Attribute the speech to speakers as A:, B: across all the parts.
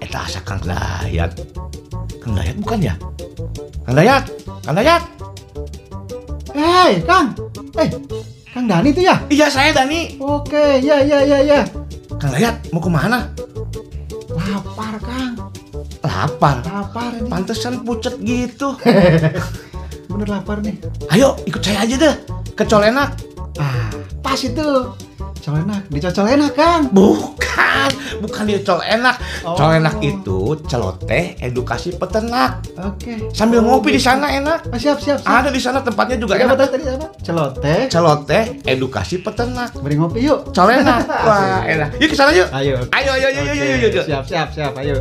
A: Eta asa Eh, Kang Dayat. Kang Dayat bukan ya? Kang Dayat, Kang Dayat.
B: Hei, Kang. Eh, Kang Dani itu ya?
A: Iya saya Dani.
B: Oke, ya, ya, ya, ya.
A: Kang Dayat mau kemana?
B: Lapar, Kang.
A: Lapar.
B: Lapar ini.
A: Pantesan pucet gitu.
B: Bener lapar nih.
A: Ayo ikut saya aja deh ke Colenak.
B: Ah, pas itu. Cocol enak, dicocol enak, Kang.
A: Bukan, bukan di Colenak.
B: Oh.
A: Colenak itu celoteh edukasi peternak.
B: Oke.
A: Sambil
B: Oh,
A: ngopi di
B: gitu. Iya,
A: sana enak.
B: Oh, siap, siap, siap.
A: Ada di sana tempatnya juga
B: Tadi apa
A: enak.
B: tadi tadi apa? Celoteh.
A: Celoteh edukasi peternak.
B: Beri ngopi yuk.
A: Colenak. Wah, enak. Yuk ke sana yuk.
B: Ayo.
A: Ayo, ayo, ayo, ayo, ayo,
B: Oke,
A: ayo.
B: Siap, siap, siap. Ayo.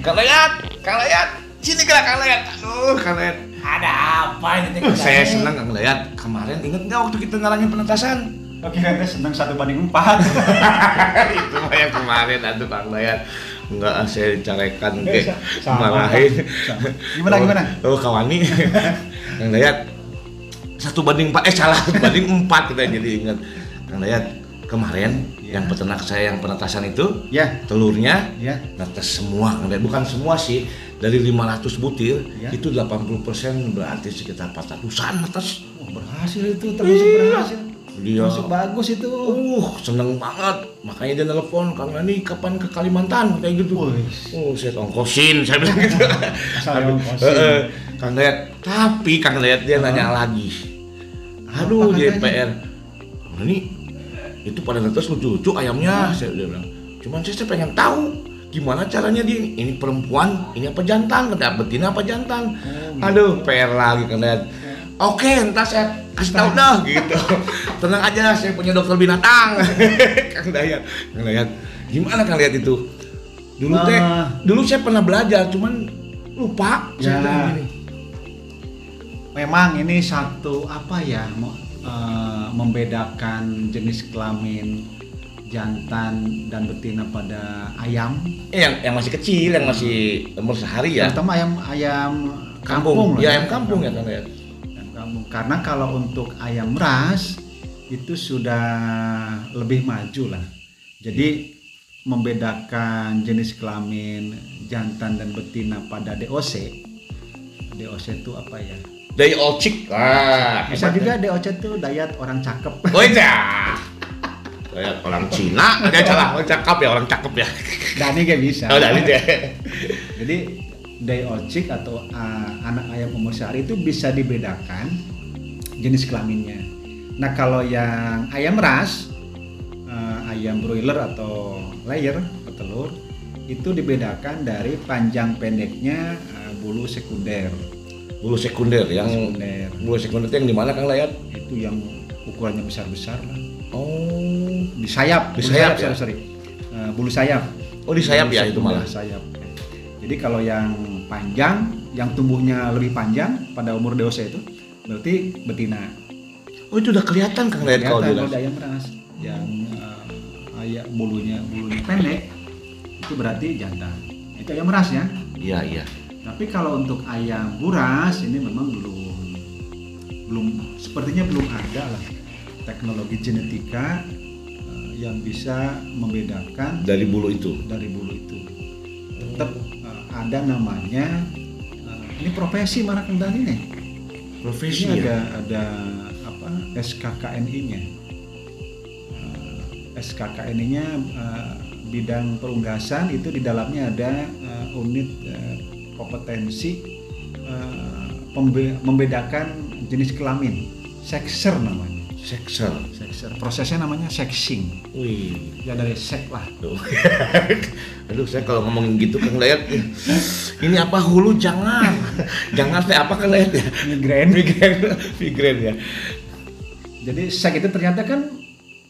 A: Kang Layat, Kang Layat, sini gerak Kang Layat. Aduh, Kang Layat.
C: Ada apa ini? Teh?
A: Saya senang Kang Layat. Kemarin inget nggak waktu kita ngalangin penetasan?
D: Oke, kita senang satu banding empat.
A: Itu mah yang kemarin aduh Kang Layat. Enggak, saya dicarekan ke marahin.
D: Gimana, gimana?
A: Oh, oh, kawani. Kang Layat, satu banding empat, eh salah, satu banding empat kita jadi ingat. Kang Layat, kemarin yang
D: Iya.
A: peternak saya yang penetasan itu
D: ya,
A: telurnya
D: ya.
A: netes semua Kang Dayat. bukan semua sih dari 500 butir
D: Iya.
A: itu 80% berarti sekitar 400-an netes
D: Wah, berhasil itu, termasuk berhasil.
A: dia
D: Termasuk bagus itu.
A: uh seneng banget makanya dia telepon Kang Dani kapan ke Kalimantan kayak gitu oh saya ongkosin saya bilang gitu
D: Asal ongkosin.
A: Eh, eh, Kang Dayat tapi Kang Dayat dia nanya lagi aduh
D: Apa katanya?
A: JPR ini itu pada netes lucu-lucu ayamnya saya dia bilang cuman saya, saya pengen tahu gimana caranya dia ini perempuan ini apa jantan kena betina apa jantan aduh PR lagi kalian oke entar saya kasih tahu dah gitu tenang aja saya punya dokter binatang Kang Dayat Kang Dayat gimana Kang Dayat itu dulu teh
D: Ah.
A: dulu saya pernah belajar cuman lupa saya
D: Ya.
A: bilang gini.
D: Memang ini satu apa ya mo- eh, membedakan jenis kelamin jantan dan betina pada ayam.
A: Eh, yang yang masih kecil yang masih umur sehari ya
D: Terutama ayam ayam
A: kampung,
D: kampung. lah
A: ya ayam kampung ya Kang Dayat
D: Ayam kampung. Karena kalau untuk ayam ras itu sudah lebih maju lah. Jadi membedakan jenis kelamin jantan dan betina pada DOC. DOC itu apa ya?
A: dari Olcik lah
D: Bisa juga DOC itu dayat orang cakep.
A: Oh iya. Kayak orang Cina, ada salah orang cakep ya, orang cakep ya.
D: Dani gak bisa.
A: Oh, dari deh.
D: Jadi DOC atau uh, anak ayam umur sehari itu bisa dibedakan jenis kelaminnya. Nah kalau yang ayam ras, uh, ayam broiler atau layer petelur itu dibedakan dari panjang pendeknya uh, bulu sekunder.
A: Bulu sekunder yang
D: Sekunder.
A: bulu sekunder itu yang di mana Kang Layat?
D: Itu yang ukurannya besar-besar lah.
A: Oh,
D: Di sayap,
A: Di
D: bulu
A: sayap ya?
D: sorry, sorry. Uh, bulu sayap.
A: oh di sayap ya itu
D: Tumbuh
A: malah.
D: Iya, sayap. Jadi kalau yang panjang, yang tumbuhnya lebih panjang pada umur dewasa itu berarti betina.
A: Oh itu udah kelihatan Kang Layat kalau
D: Kelihatan
A: dia.
D: kalau ada ayam ras yang eh, ayam bulunya bulunya pendek itu berarti jantan. Itu ayam ras ya.
A: Iya iya.
D: Tapi kalau untuk ayam buras ini memang belum belum sepertinya belum ada lah teknologi genetika eh, yang bisa membedakan
A: Dari bulu itu.
D: dari bulu itu tetap uh, ada namanya uh, ini profesi mana kendali nih ini
A: Profesi
D: ada ada apa SKKNI-nya Uh, SKKNI-nya uh, bidang perunggasan itu di dalamnya ada uh, unit uh, kompetensi uh, pembe- membedakan jenis kelamin sekser namanya
A: Seksel.
D: sekser prosesnya namanya sexing
A: Wih.
D: ya dari sek lah
A: Aduh. Aduh, saya kalau ngomongin gitu Kang Layat ini apa hulu jangan. jangan saya apa Kang Layat ya?
D: migrain
A: Migren, migren ya.
D: Jadi sek itu ternyata kan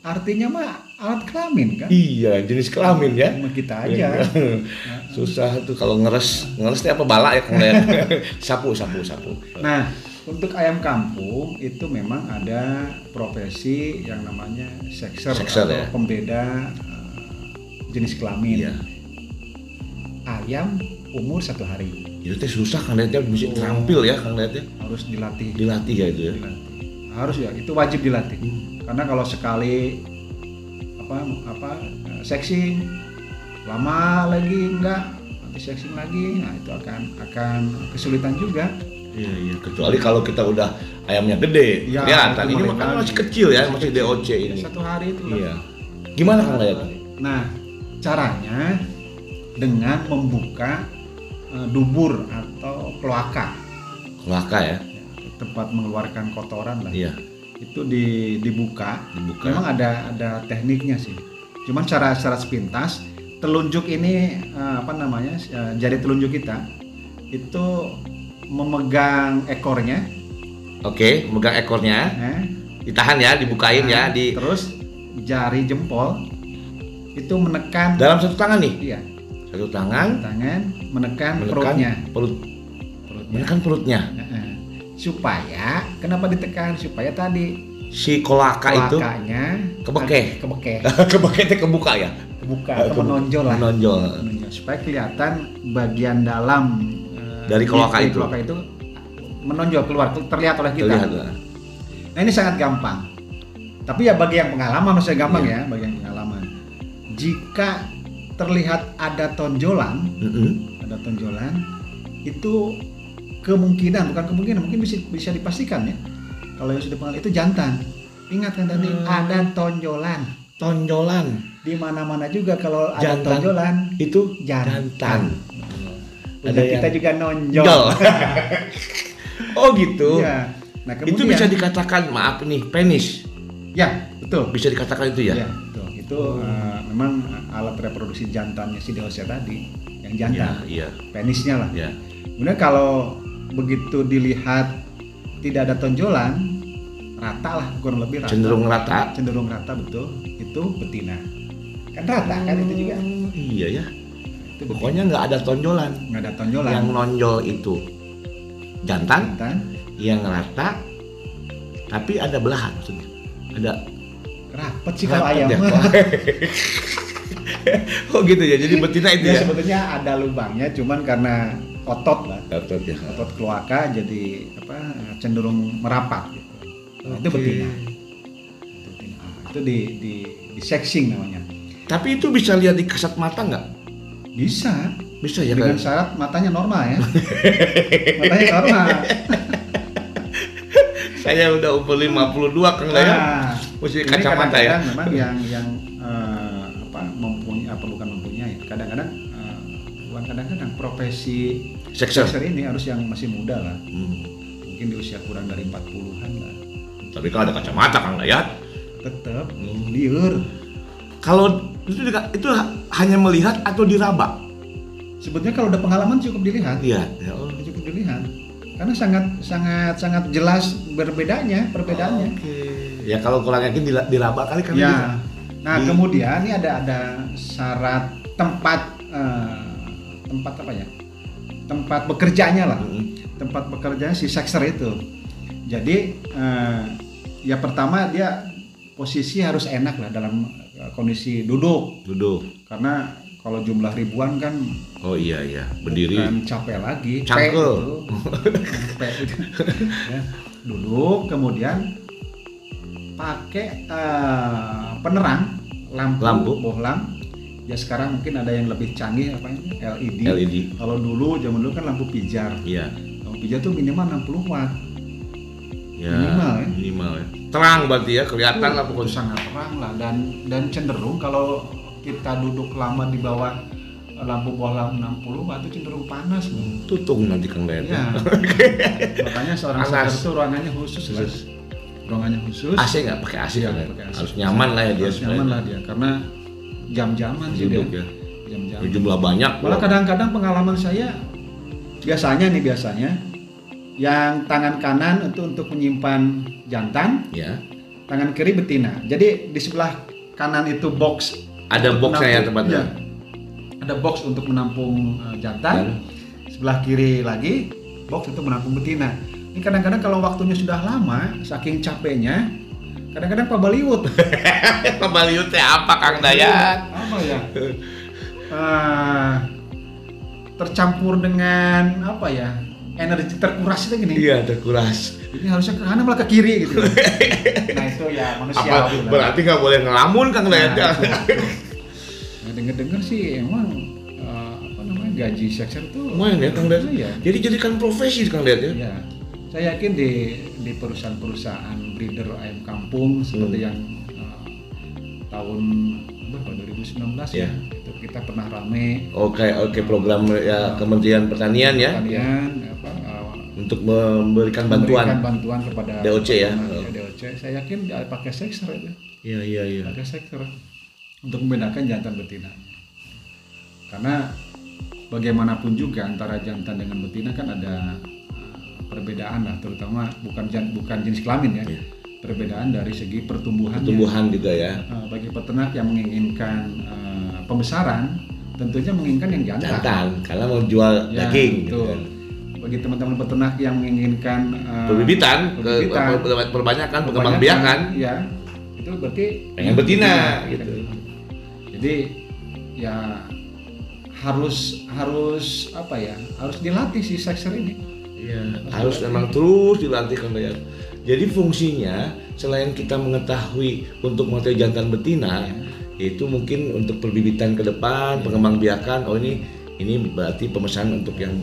D: artinya mah alat kelamin kan?
A: Iya, jenis kelamin ya.
D: Sama kita aja.
A: Iya.
D: Nah,
A: susah tuh kalau ngeres ngeres itu apa balak ya kang Len? sapu sapu sapu
D: Nah, untuk ayam kampung itu memang ada profesi yang namanya sekser,
A: Sekser,
D: atau
A: ya.
D: pembeda eh, jenis kelamin.
A: Iya.
D: Ayam umur satu hari
A: itu teh susah kang lihatnya mesti terampil ya kang lihatnya
D: harus dilatih.
A: dilatih ya itu ya
D: Dilatih. Harus ya, itu wajib dilatih.
A: Hmm.
D: Karena kalau sekali apa apa eh, seksi lama lagi enggak nanti seksi lagi, nah itu akan akan kesulitan juga.
A: Iya, iya. Kecuali kalau kita udah ayamnya gede,
D: Iya,
A: kelihatan.
D: itu
A: Ini
D: makin
A: makan
D: lagi.
A: masih kecil ya, masih
D: kecil.
A: DOC ini.
D: Satu hari itu.
A: Iya. Gimana kang lihat?
D: Nah, caranya dengan membuka eh, dubur atau kloaka,
A: Kelaka ya?
D: ya, tempat mengeluarkan kotoran lah.
A: Iya,
D: Itu di- dibuka.
A: dibuka.
D: Memang ada ada tekniknya sih. Cuman cara secara sepintas telunjuk ini eh, apa namanya eh, jari telunjuk kita itu memegang ekornya,
A: Oke, megang ekornya,
D: eh,
A: ditahan ya, dibukain ya,
D: nah,
A: di
D: terus jari jempol itu menekan
A: dalam satu tangan nih.
D: iya,
A: Satu tangan
D: tangan menekan,
A: menekan
D: perutnya.
A: perut,
D: perutnya.
A: menekan perutnya.
D: Heeh. supaya kenapa ditekan supaya tadi
A: Si kolaka itu
D: kelakanya
A: kebekeh.
D: kebekeh
A: kebuka itu kebuka ya?
D: kebuka
A: Eh,
D: atau menonjol lah
A: Menonjol.
D: menonjol Iya, supaya kelihatan bagian dalam eh,
A: Dari kelaka itu.
D: kelaka itu menonjol keluar terlihat oleh kita
A: Terlihat.
D: nah ini sangat gampang tapi ya bagi yang pengalaman maksudnya gampang
A: Iya.
D: ya bagi yang pengalaman jika terlihat ada tonjolan
A: Mm-mm.
D: ada tonjolan itu kemungkinan bukan kemungkinan mungkin bisa bisa dipastikan ya kalau yang sudah pengalaman itu jantan ingat kan tadi
A: Hmm.
D: ada tonjolan
A: Tonjolan
D: di mana mana juga kalau ada
A: Jantan.
D: tonjolan
A: itu
D: Jantan.
A: jantan.
D: ada
A: yang-
D: kita juga nonjol
A: Jol. oh gitu.
D: Iya. nah kemudian
A: Itu bisa dikatakan maaf nih penis.
D: ya betul
A: Bisa dikatakan itu ya.
D: Iya, betul. itu eh, memang alat reproduksi jantannya si deosnya tadi yang
A: Iya,
D: jantan
A: iya,
D: penisnya lah
A: iya.
D: Kemudian kalau begitu dilihat tidak ada tonjolan, rata lah kurang lebih rata.
A: Cenderung rata.
D: Cenderung rata betul. Itu betina. Kan rata kan itu juga.
A: Hmm, Iya ya.
D: Itu betina.
A: Pokoknya nggak ada tonjolan.
D: nggak ada tonjolan.
A: Yang nonjol itu jantan,
D: jantan
A: yang rata, tapi ada belahan maksudnya. Ada
D: rapet sih kalau
A: rapet
D: ayam.
A: ya.
D: mah.
A: Oh gitu ya. Jadi betina itu
D: Ya,
A: ya.
D: sebetulnya ada lubangnya cuman karena otot lah.
A: Rapet ya.
D: Otot keluarga jadi apa cenderung merapat gitu. Nah, Itu
A: Oke.
D: betina. Itu, betina. Ah, itu di di di sexing namanya.
A: Tapi itu bisa lihat di kasat mata nggak?
D: Bisa.
A: Bisa ya
D: dengan
A: kan?
D: syarat matanya normal ya matanya normal
A: Saya udah umur 52 Kang Dayan.
D: Nah,
A: Mesti Iya,
D: ini
A: ya. kacamata ya.
D: kadang-kadang memang yang yang eh, apa mempunyai apa bukan mempunyai kadang-kadang eh, bukan kadang-kadang profesi
A: Sekser.
D: sexer ini harus yang masih muda lah
A: Hmm.
D: mungkin di usia kurang dari 40-an lah
A: Tapi kalau ada kacamata Kang Dayan,
D: tetap
A: Hmm.
D: liur
A: kalau itu dika- itu ha- hanya melihat atau diraba?
D: sebetulnya kalau udah pengalaman cukup dilihat
A: Lihat. Ya, oh.
D: cukup dilihat karena sangat sangat sangat jelas berbedanya perbedaannya
A: Oke. Ya kalau kurang yakin dila- diraba kali kan.
D: ya.
A: gitu.
D: Nah,
A: Di-
D: kemudian ini ada ada syarat tempat eh, tempat apa ya? Tempat bekerjanya lah.
A: Mm-mm.
D: Tempat bekerjanya si sekser itu. Jadi eh, ya pertama dia posisi harus enak lah dalam eh, kondisi duduk
A: Duduk.
D: karena kalau jumlah ribuan kan
A: Oh iya iya, berdiri.
D: bukan capek lagi P
A: Cangkel.
D: itu. P itu. Ya, duduk kemudian pakai eh, penerang lampu,
A: Lampu.
D: bohlam ya sekarang mungkin ada yang lebih canggih apa ini LED,
A: LED.
D: kalau dulu zaman dulu kan lampu pijar
A: E Iya.
D: lampu pijar tuh minimal 60 watt
A: Ya,
D: Minimal ya.
A: Minimal ya. Terang berarti ya, kelihatan lah
D: itu
A: pokoknya.
D: sangat terang lah dan dan cenderung kalau kita duduk lama di bawah lampu bohlam 60 watt itu cenderung panas Bu.
A: Tutung nanti Kang Dayan.
D: Iya. Makanya
A: Panas.
D: seorang sadar itu ruangannya khusus, lah.
A: Khusus.
D: Ruangannya khusus.
A: AC nggak pakai AC
D: Iya,
A: kan?
D: pakai AC.
A: Harus nyaman lah ya dia.
D: Harus nyaman lah dia karena jam-jaman sih
A: Duduk
D: dia.
A: ya.
D: Jam-jaman.
A: Jumlah banyak.
D: Malah kadang-kadang pengalaman saya biasanya nih biasanya yang tangan kanan itu untuk menyimpan jantan,
A: Ya.
D: tangan kiri betina. Jadi di sebelah kanan itu box
A: Ada boxnya ya tempatnya.
D: Iya. Ada ada box untuk menampung eh,
A: Iya.
D: jantan, sebelah kiri lagi box untuk menampung betina. Ini kadang-kadang kalau waktunya sudah lama, saking capeknya, kadang-kadang pabaliut.
A: Pembaliut teh apa Kang Dayat?
D: Apa ya? Eh, tercampur dengan apa ya? Energi terkuras itu gini.
A: Iya terkuras.
D: Ini harusnya ke kanan malah ke kiri gitu. nah itu ya manusia.
A: Apa berarti nggak boleh ngelamun
D: Nah,
A: Kang Dayat? ya?
D: denger sih emang eh, apa namanya gaji sekser tuh
A: Lumayan ya Kang Dayat.
D: Iya.
A: Jadi jadikan profesi Kang Dayat ya.
D: Iya. Saya yakin di di perusahaan-perusahaan breeder ayam kampung seperti
A: Hmm.
D: yang eh, tahun berapa 2019
A: Iya.
D: ya. Itu kita pernah rame
A: Oke oke program ya Kementerian Pertanian ya
D: kalian apa eh,
A: untuk memberikan bantuan.
D: memberikan bantuan kepada
A: DOC ya?
D: kepada DOC. Saya yakin dia pakai sekser itu,
A: Iya iya iya.
D: pakai sekser untuk membedakan jantan betina. Karena bagaimanapun juga antara jantan dengan betina kan ada eh, perbedaan lah, terutama bukan jan- bukan jenis kelamin ya,
A: Iya.
D: perbedaan dari segi pertumbuhan. Eh,
A: Pertumbuhan juga ya.
D: bagi peternak yang menginginkan eh, pembesaran, tentunya menginginkan yang jantan.
A: Jantan karena mau jual
D: Ya,
A: daging. gitu
D: betul.
A: kan.
D: Bagi teman-teman peternak yang menginginkan eh,
A: Perbibitan, ke-
D: perbibitan,
A: per- per- perbanyakan,
D: Kebanyakan,
A: perkembang biakan.
D: ya itu berarti
A: Kan
D: Iya,
A: Pengen betina, gitu.
D: jadi ya harus harus apa ya harus dilatih si sekser ini
A: Iya, harus memang terus dilatih Kang Dayat. Jadi fungsinya selain kita mengetahui untuk mengetahui jantan betina,
D: Iya.
A: itu mungkin untuk perbibitan ke depan, pengembangbiakan. Oh ini ini berarti pemesanan untuk yang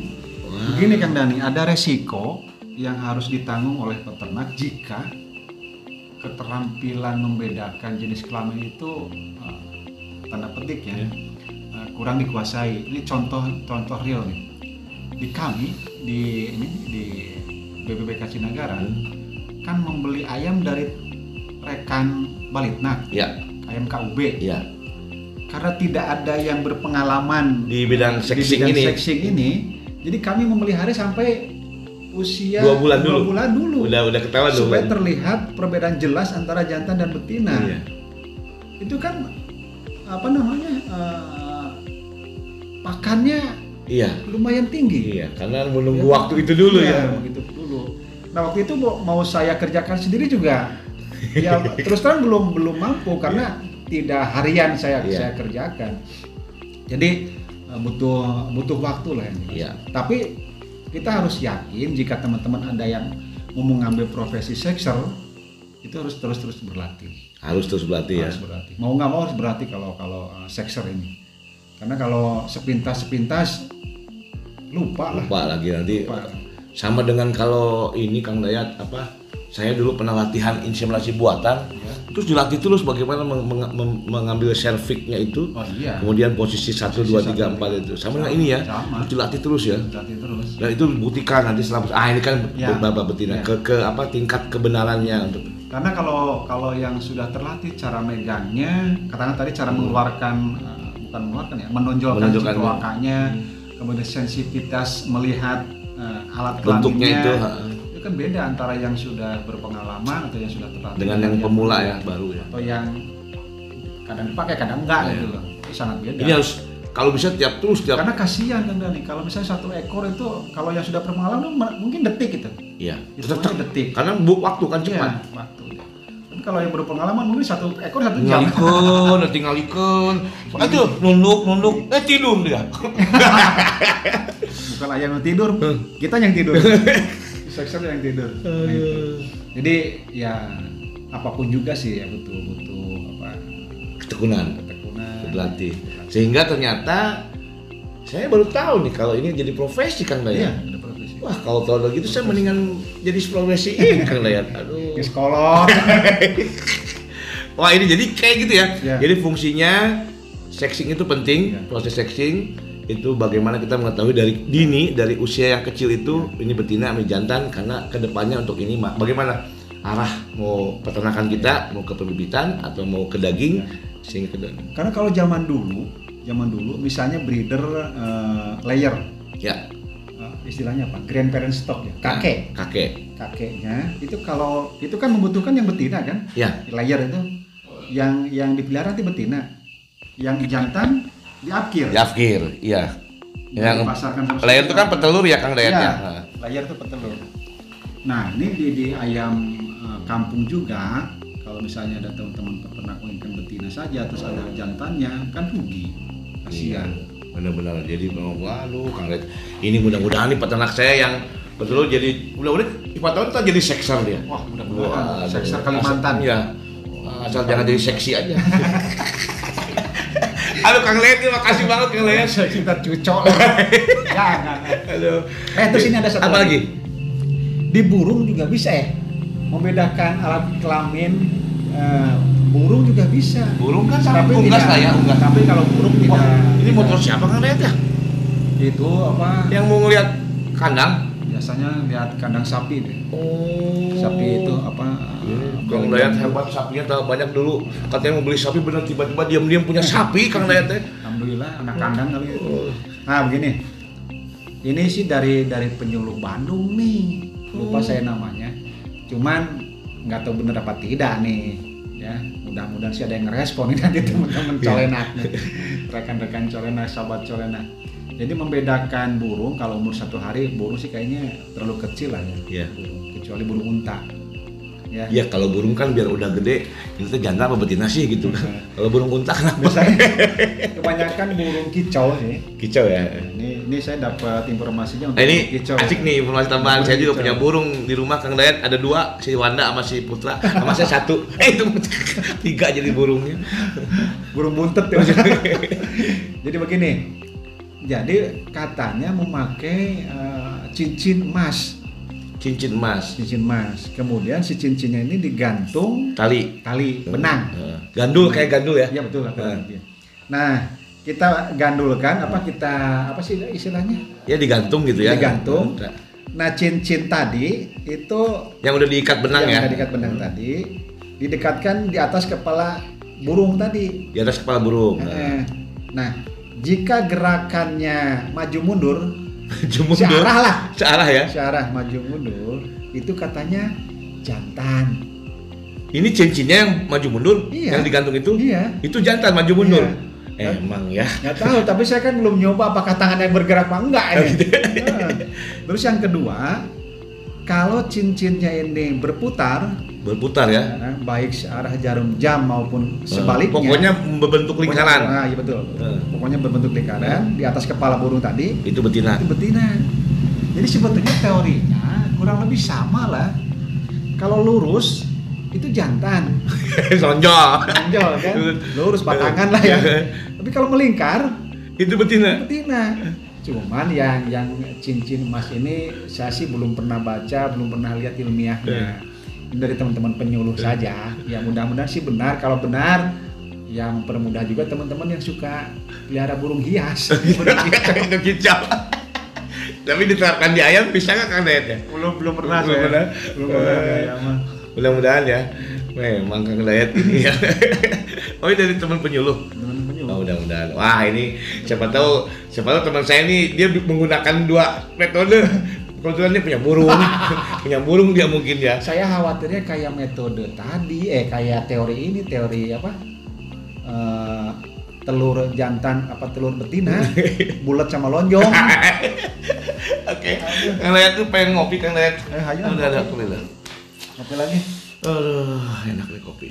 A: wah,
D: begini kang Dani ada resiko yang harus ditanggung oleh peternak jika keterampilan membedakan jenis kelamin itu eh, tanda petik ya eh, kurang dikuasai ini contoh contoh real nih di kami di ini di BPBK Cinagara kan membeli ayam dari rekan Balitnak
A: ya
D: ayam KUB
A: ya
D: karena tidak ada yang berpengalaman
A: di bidang
D: di
A: sexing
D: bidang
A: ini.
D: sexing ini jadi kami memelihara sampai usia
A: Dua bulan dulu.
D: bulan dulu.
A: Udah udah ketahuan dong.
D: supaya terlihat perbedaan jelas antara jantan dan betina
A: Iya.
D: itu kan apa namanya eh, pakannya
A: Iya.
D: lumayan tinggi
A: Iya, karena menunggu waktu itu dulu
D: Iya,
A: ya.
D: begitu dulu nah waktu itu mau mau saya kerjakan sendiri juga ya terus terang belum belum mampu karena tidak harian saya
A: Iya.
D: saya kerjakan jadi eh, butuh butuh waktu lah ini
A: Iya.
D: tapi kita harus yakin jika teman-teman ada yang mau mengambil profesi sekser itu harus terus terus berlatih
A: Harus terus berlatih ya.
D: harus berlatih. Mau nggak mau harus berlatih kalau kalau uh, sekser ini. Karena kalau sepintas sepintas lupa lah.
A: Lupa lagi nanti
D: Lupa.
A: sama dengan kalau ini Kang Dayat apa saya dulu pernah latihan inseminasi buatan
D: Ya.
A: terus dilatih terus bagaimana meng- meng- mem- mengambil cervixnya itu
D: Oh iya.
A: kemudian posisi 1
D: Posisi
A: 2
D: satu,
A: 3 4 itu sama dengan
D: Sama,
A: ini ya
D: sama.
A: terus dilatih terus ya
D: Berlatih terus.
A: dan itu dibuktikan nanti selama ah ini kan
D: Ya.
A: babak betina
D: Ya.
A: ke, ke apa tingkat kebenarannya untuk
D: Karena kalau kalau yang sudah terlatih cara megangnya, katanya tadi cara mengeluarkan uh, bukan mengeluarkan ya, menonjolkan
A: Menonjolkan. Hmm.
D: cekawakanya, kemudian sensitivitas melihat uh, alat
A: Bentuknya
D: kelaminnya.
A: itu, ha.
D: itu kan beda antara yang sudah berpengalaman atau yang sudah terlatih
A: dengan yang pemula ya baru ya
D: atau yang kadang dipakai kadang enggak
A: Iya.
D: gitu loh. Itu sangat beda.
A: ini harus kalau bisa tiap terus tiap
D: Karena kasihan kan Dani, kalau misalnya satu ekor itu kalau yang sudah berpengalaman ma- mungkin detik gitu.
A: ya
D: Itu
A: tetap
D: mungkin detik.
A: karena buk waktu kan cepat
D: Iya, waktu. Tapi kalau yang berpengalaman mungkin satu ekor satu jam.
A: Ngalikeun, nanti ngalikeun. Aduh, nunduk, nunduk. Eh tidur dia.
D: Bukan ayam yang tidur, kita yang tidur. Sekser yang tidur. Nah, itu. Jadi ya apapun juga sih ya butuh butuh apa
A: Ketekunan,
D: ketekunan.
A: berlatih. Sehingga ternyata saya baru tahu nih kalau ini jadi profesi Kang
D: Iya,
A: Dayat.
D: ada profesi.
A: Wah, kalau tahu begitu saya mendingan jadi profesi ini Kang Dayat. Aduh.
D: Di sekolah.
A: Wah, ini jadi kayak gitu ya.
D: Iya.
A: Jadi fungsinya sexing itu penting,
D: Iya.
A: proses sexing itu bagaimana kita mengetahui dari dini dari usia yang kecil itu ini betina ini jantan karena kedepannya untuk ini ma- bagaimana arah mau peternakan kita mau ke perbibitan atau mau ke daging sehingga ke daging.
D: Karena kalau zaman dulu, zaman dulu misalnya breeder eh, layer
A: ya
D: eh, istilahnya apa? Grandparent stock ya, kakek,
A: Nah, kakek
D: kakeknya itu kalau itu kan membutuhkan yang betina kan?
A: ya
D: Layer itu yang yang dipelihara nanti betina, yang jantan diapkir.
A: Yafkir, iya. Yang
D: Dipasarkan terus.
A: layar itu kan petelur ya Kang Dayat
D: Iya,
A: ya.
D: layar itu petelur. Nah, ini di, di ayam eh, kampung juga, kalau misalnya ada teman-teman peternak menginginkan betina saja, terus ada jantannya, kan rugi,
A: Iya.
D: kasihan.
A: Benar-benar jadi memang waduh Kang Dayat. Ini mudah-mudahan nih peternak saya yang betul jadi mudah-mudahan empat tahun kita jadi sekser dia.
D: Wah, mudah-mudahan.
A: Waduh.
D: Sekser Kalimantan.
A: Asal- Iya. Asal jangan jadi seksi aja. Aduh Kang Dayat, terima kasih banget Kang Dayat.
D: Kita cucok lah. Jangan.
A: Aduh.
D: Eh, terus ini ada satu
A: Apa lagi?
D: Di burung juga bisa ya, membedakan alat kelamin eh, burung juga bisa.
A: Burung kan sama unggas
D: tidak-
A: lah ya, unggas.
D: Tapi kalau burung tidak.
A: Wah, ini
D: tidak-
A: motor siapa Kang Dayat ya?
D: Itu apa?
A: Yang mau ngeliat kandang.
D: Biasanya lihat kandang sapi deh.
A: Oh.
D: sapi itu apa
A: Iya, Kang Dayat hebat sapinya tahu banyak dulu katanya mau beli sapi bener tiba-tiba diam-diam punya sapi Kang ya. Dayat teh.
D: alhamdulillah anak kandang kali itu
A: Oh.
D: nah begini ini sih dari dari penyuluh Bandung nih lupa
A: Hmm.
D: saya namanya cuman nggak tahu bener apa tidak nih ya mudah-mudahan sih ada yang ngerespon ini nanti teman-teman
A: Iya.
D: colenak nih rekan-rekan colenak sahabat colenak jadi membedakan burung kalau umur satu hari burung sih kayaknya terlalu kecil lah ya
A: Iya.
D: burung. kecuali burung unta ya
A: Ya kalau burung kan biar udah gede ini teh jantan apa betina sih gitu kan. Kalau burung unta kenapa?
D: biasanya kebanyakan burung kicau sih
A: Kicau ya.
D: ini ini saya dapat informasinya
A: Nah,
D: untuk
A: ini
D: kicau
A: asik nih informasi tambahan.
D: Burung
A: Saya juga
D: kicau.
A: punya burung di rumah Kang Dayat ada dua, si Wanda sama si Putra, sama saya satu. Eh itu tiga jadi burungnya.
D: burung buntet ya jadi begini jadi katanya memakai eh, cincin emas
A: Cincin emas,
D: cincin emas kemudian si cincinnya ini digantung
A: tali,
D: tali benang
A: Eh, Gandul kayak gandul ya.
D: iya betul lah
A: Nah.
D: nah kita gandulkan apa kita apa sih istilahnya
A: Ya digantung gitu ya.
D: Digantung. nah cincin tadi itu
A: Yang udah diikat benang ya.
D: yang tadi kat Iya, benang tadi didekatkan di atas kepala burung tadi.
A: Di atas kepala burung.
D: Eh, Nah, jika gerakannya maju mundur,
A: Cuma
D: searah lah,
A: Nah, Searah ya.
D: searah maju mundur, itu katanya jantan.
A: Ini cincinnya yang maju mundur,
D: Iya.
A: yang digantung itu.
D: Iya.
A: Itu jantan maju mundur.
D: Iya.
A: Emang ya.
D: Nggak tahu, tapi saya kan belum nyoba apakah tangannya bergerak apa enggak
A: Oh,
D: ini.
A: gitu.
D: Nah, Terus yang kedua, kalau cincinnya ini berputar,
A: Berputar ya.
D: nah, baik searah jarum jam maupun
A: Eh,
D: sebaliknya.
A: Pokoknya membentuk lingkaran.
D: Nah, iya betul.
A: Eh.
D: Pokoknya berbentuk lingkaran di atas kepala burung tadi
A: Itu betina.
D: itu betina. Jadi sebetulnya teorinya kurang lebih sama lah. Kalau lurus itu jantan,
A: Sonjol.
D: menonjol kan? Lurus batangan lah ya. Tapi kalau melingkar
A: Itu betina.
D: betina. Cuman yang yang cincin emas ini saya sih belum pernah baca, belum pernah lihat ilmiahnya. Ini dari teman-teman penyuluh saja. Ya mudah-mudahan sih benar. Kalau benar, yang permudah juga teman-teman yang suka pelihara burung hias. Burung kicau.
A: Iya, itu kicau. Tapi diterapkan di ayam bisa nggak Kang Dayat ya?
D: belum belum pernah
A: Belum
D: saya.
A: pernah.
D: Belum pernah ya,
A: Eh.
D: saya mah.
A: Mudah-mudahan ya. Memang Kang Dayat ini ya. oh ini dari teman penyuluh.
D: Teman penyuluh.
A: Oh, mudah-mudahan. Wah, ini siapa tahu siapa tahu teman saya ini dia menggunakan dua metode. Kebetulan dia punya burung, punya burung dia mungkin ya.
D: Saya khawatirnya kayak metode tadi, eh kayak teori ini, teori apa? Eh, telur jantan apa telur betina bulat sama lonjong
A: Oke. Kang Layat tuh pengen ngopi Kang Layat.
D: Eh, ayo,
A: Udah ada aku udah.
D: apa lagi
A: Aduh, enak nih kopi.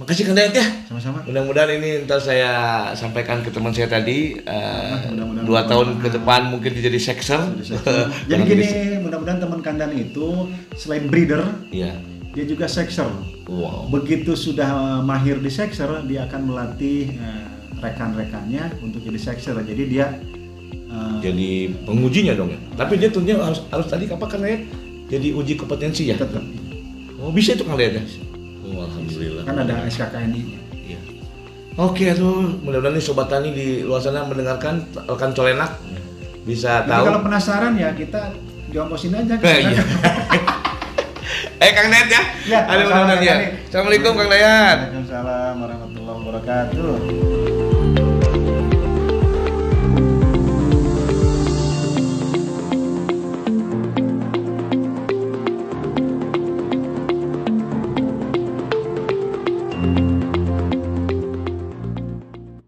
A: Makasih Kang Layat ya.
D: sama-sama
A: Mudah-mudahan ini ntar saya sampaikan ke teman saya tadi eh,
D: Mudah-mudahan.
A: dua tahun ke depan mungkin dia jadi sekser.
D: Jadi gini, mudah-mudahan teman kandan itu selain breeder,
A: Iya.
D: dia juga sexer.
A: Wow.
D: Begitu sudah mahir di sexer, dia akan melatih eh, rekan-rekannya untuk jadi sexer. Jadi dia eh,
A: Jadi pengujinya dong ya. Tapi dia tentunya harus harus tadi apa Kang Layat? Jadi uji kompetensi ya.
D: tetap
A: Oh bisa itu kang Dayat ya? Oh, alhamdulillah.
D: kan ada SKKNI-nya.
A: Iya. Oke tuh, mudah-mudahan nih sobat tani di luar sana mendengarkan rekan colenak bisa
D: Jadi
A: tahu.
D: kalau penasaran ya kita diomposin aja kan.
A: Eh, iya. eh Kang Dayat ya.
D: Ya,
A: Ada mudah-mudahan ya.
D: Kang Dayat.
A: Assalamualaikum Kang Dayat.
D: Waalaikumsalam warahmatullahi wabarakatuh.